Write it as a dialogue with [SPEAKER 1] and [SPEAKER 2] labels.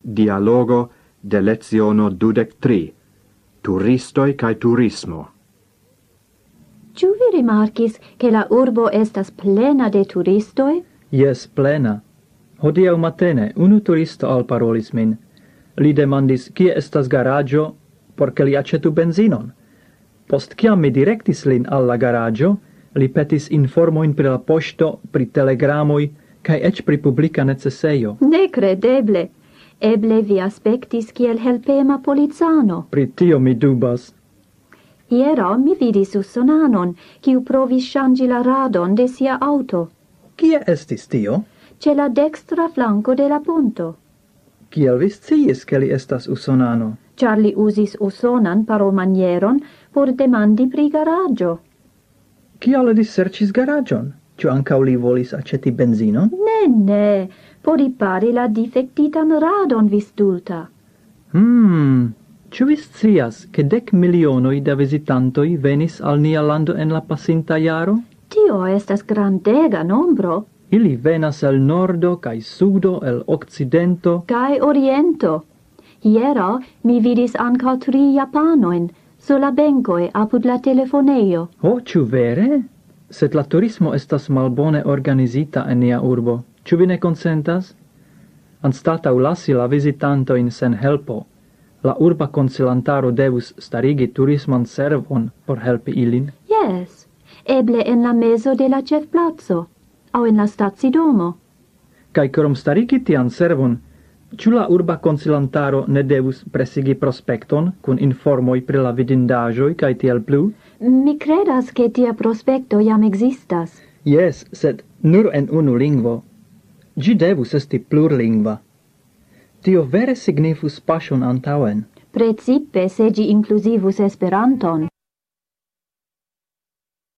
[SPEAKER 1] dialogo de leziono dudec tri, turistoi cae turismo.
[SPEAKER 2] Ĉu vi rimarkis ke la urbo estas plena de turistoj?
[SPEAKER 3] Yes, plena. Hodiau matene unu turisto alparolis min. Li demandis, kie estas garaggio, por che li acetu benzinon. Post ciam mi directis lin alla garaggio, li petis informoin pri la posto, pri telegramoi, cae ec pri publica necesseio.
[SPEAKER 2] Nekredeble. Eble vi aspektis kiel helpema policano.
[SPEAKER 3] Pri tio mi dubas.
[SPEAKER 2] Hieraŭ mi vidis usonanon, kiu provis ŝanĝi la radon de sia aŭto
[SPEAKER 3] Kie estis tio?
[SPEAKER 2] ĉe la dekstra flanko de la ponto,
[SPEAKER 3] Kiel vi sciis, che li estas usonano?
[SPEAKER 2] ĉar li uzis usonan paromanieron por demandi pri garaĝo.
[SPEAKER 3] Kial li sercis garagion? Ciu ancau li volis aceti benzinon?
[SPEAKER 2] Ne, ne, por ripari la difektitan radon vi stulta.
[SPEAKER 3] Hmm, ciu vi scias, che dec milionoi da visitantoi venis al nia lando en la pasinta iaro?
[SPEAKER 2] Tio estas grandega nombro,
[SPEAKER 3] Ili venas el nordo cae sudo, el occidento,
[SPEAKER 2] kaj oriento. Hieraŭ mi vidis ankaŭ tri japanoin, sur la benkoj apud la telefonejo.
[SPEAKER 3] Ho, ciu vere? Sed la turismo estas malbone organizita en nia urbo. Ciu vi ne consentas? Anstatau lasi la visitantoin sen helpo, la urba consilantaro devus starigi turisman servon por helpi ilin.
[SPEAKER 2] Yes, eble en la mezo de la ĉefplaco, aŭ en la stacidomo.
[SPEAKER 3] Cai corom starigi tian servon, ciu la urba consilantaro ne devus presigi prospecton cun informoi pri la vidindajoi cae tiel plu?
[SPEAKER 2] Mi credas che tia prospecto jam existas.
[SPEAKER 3] Yes, sed nur en unu lingvo. Gi devus esti plurlingva. Tio vere signifus pasion antauen.
[SPEAKER 2] Precipe se gi inclusivus Esperanton.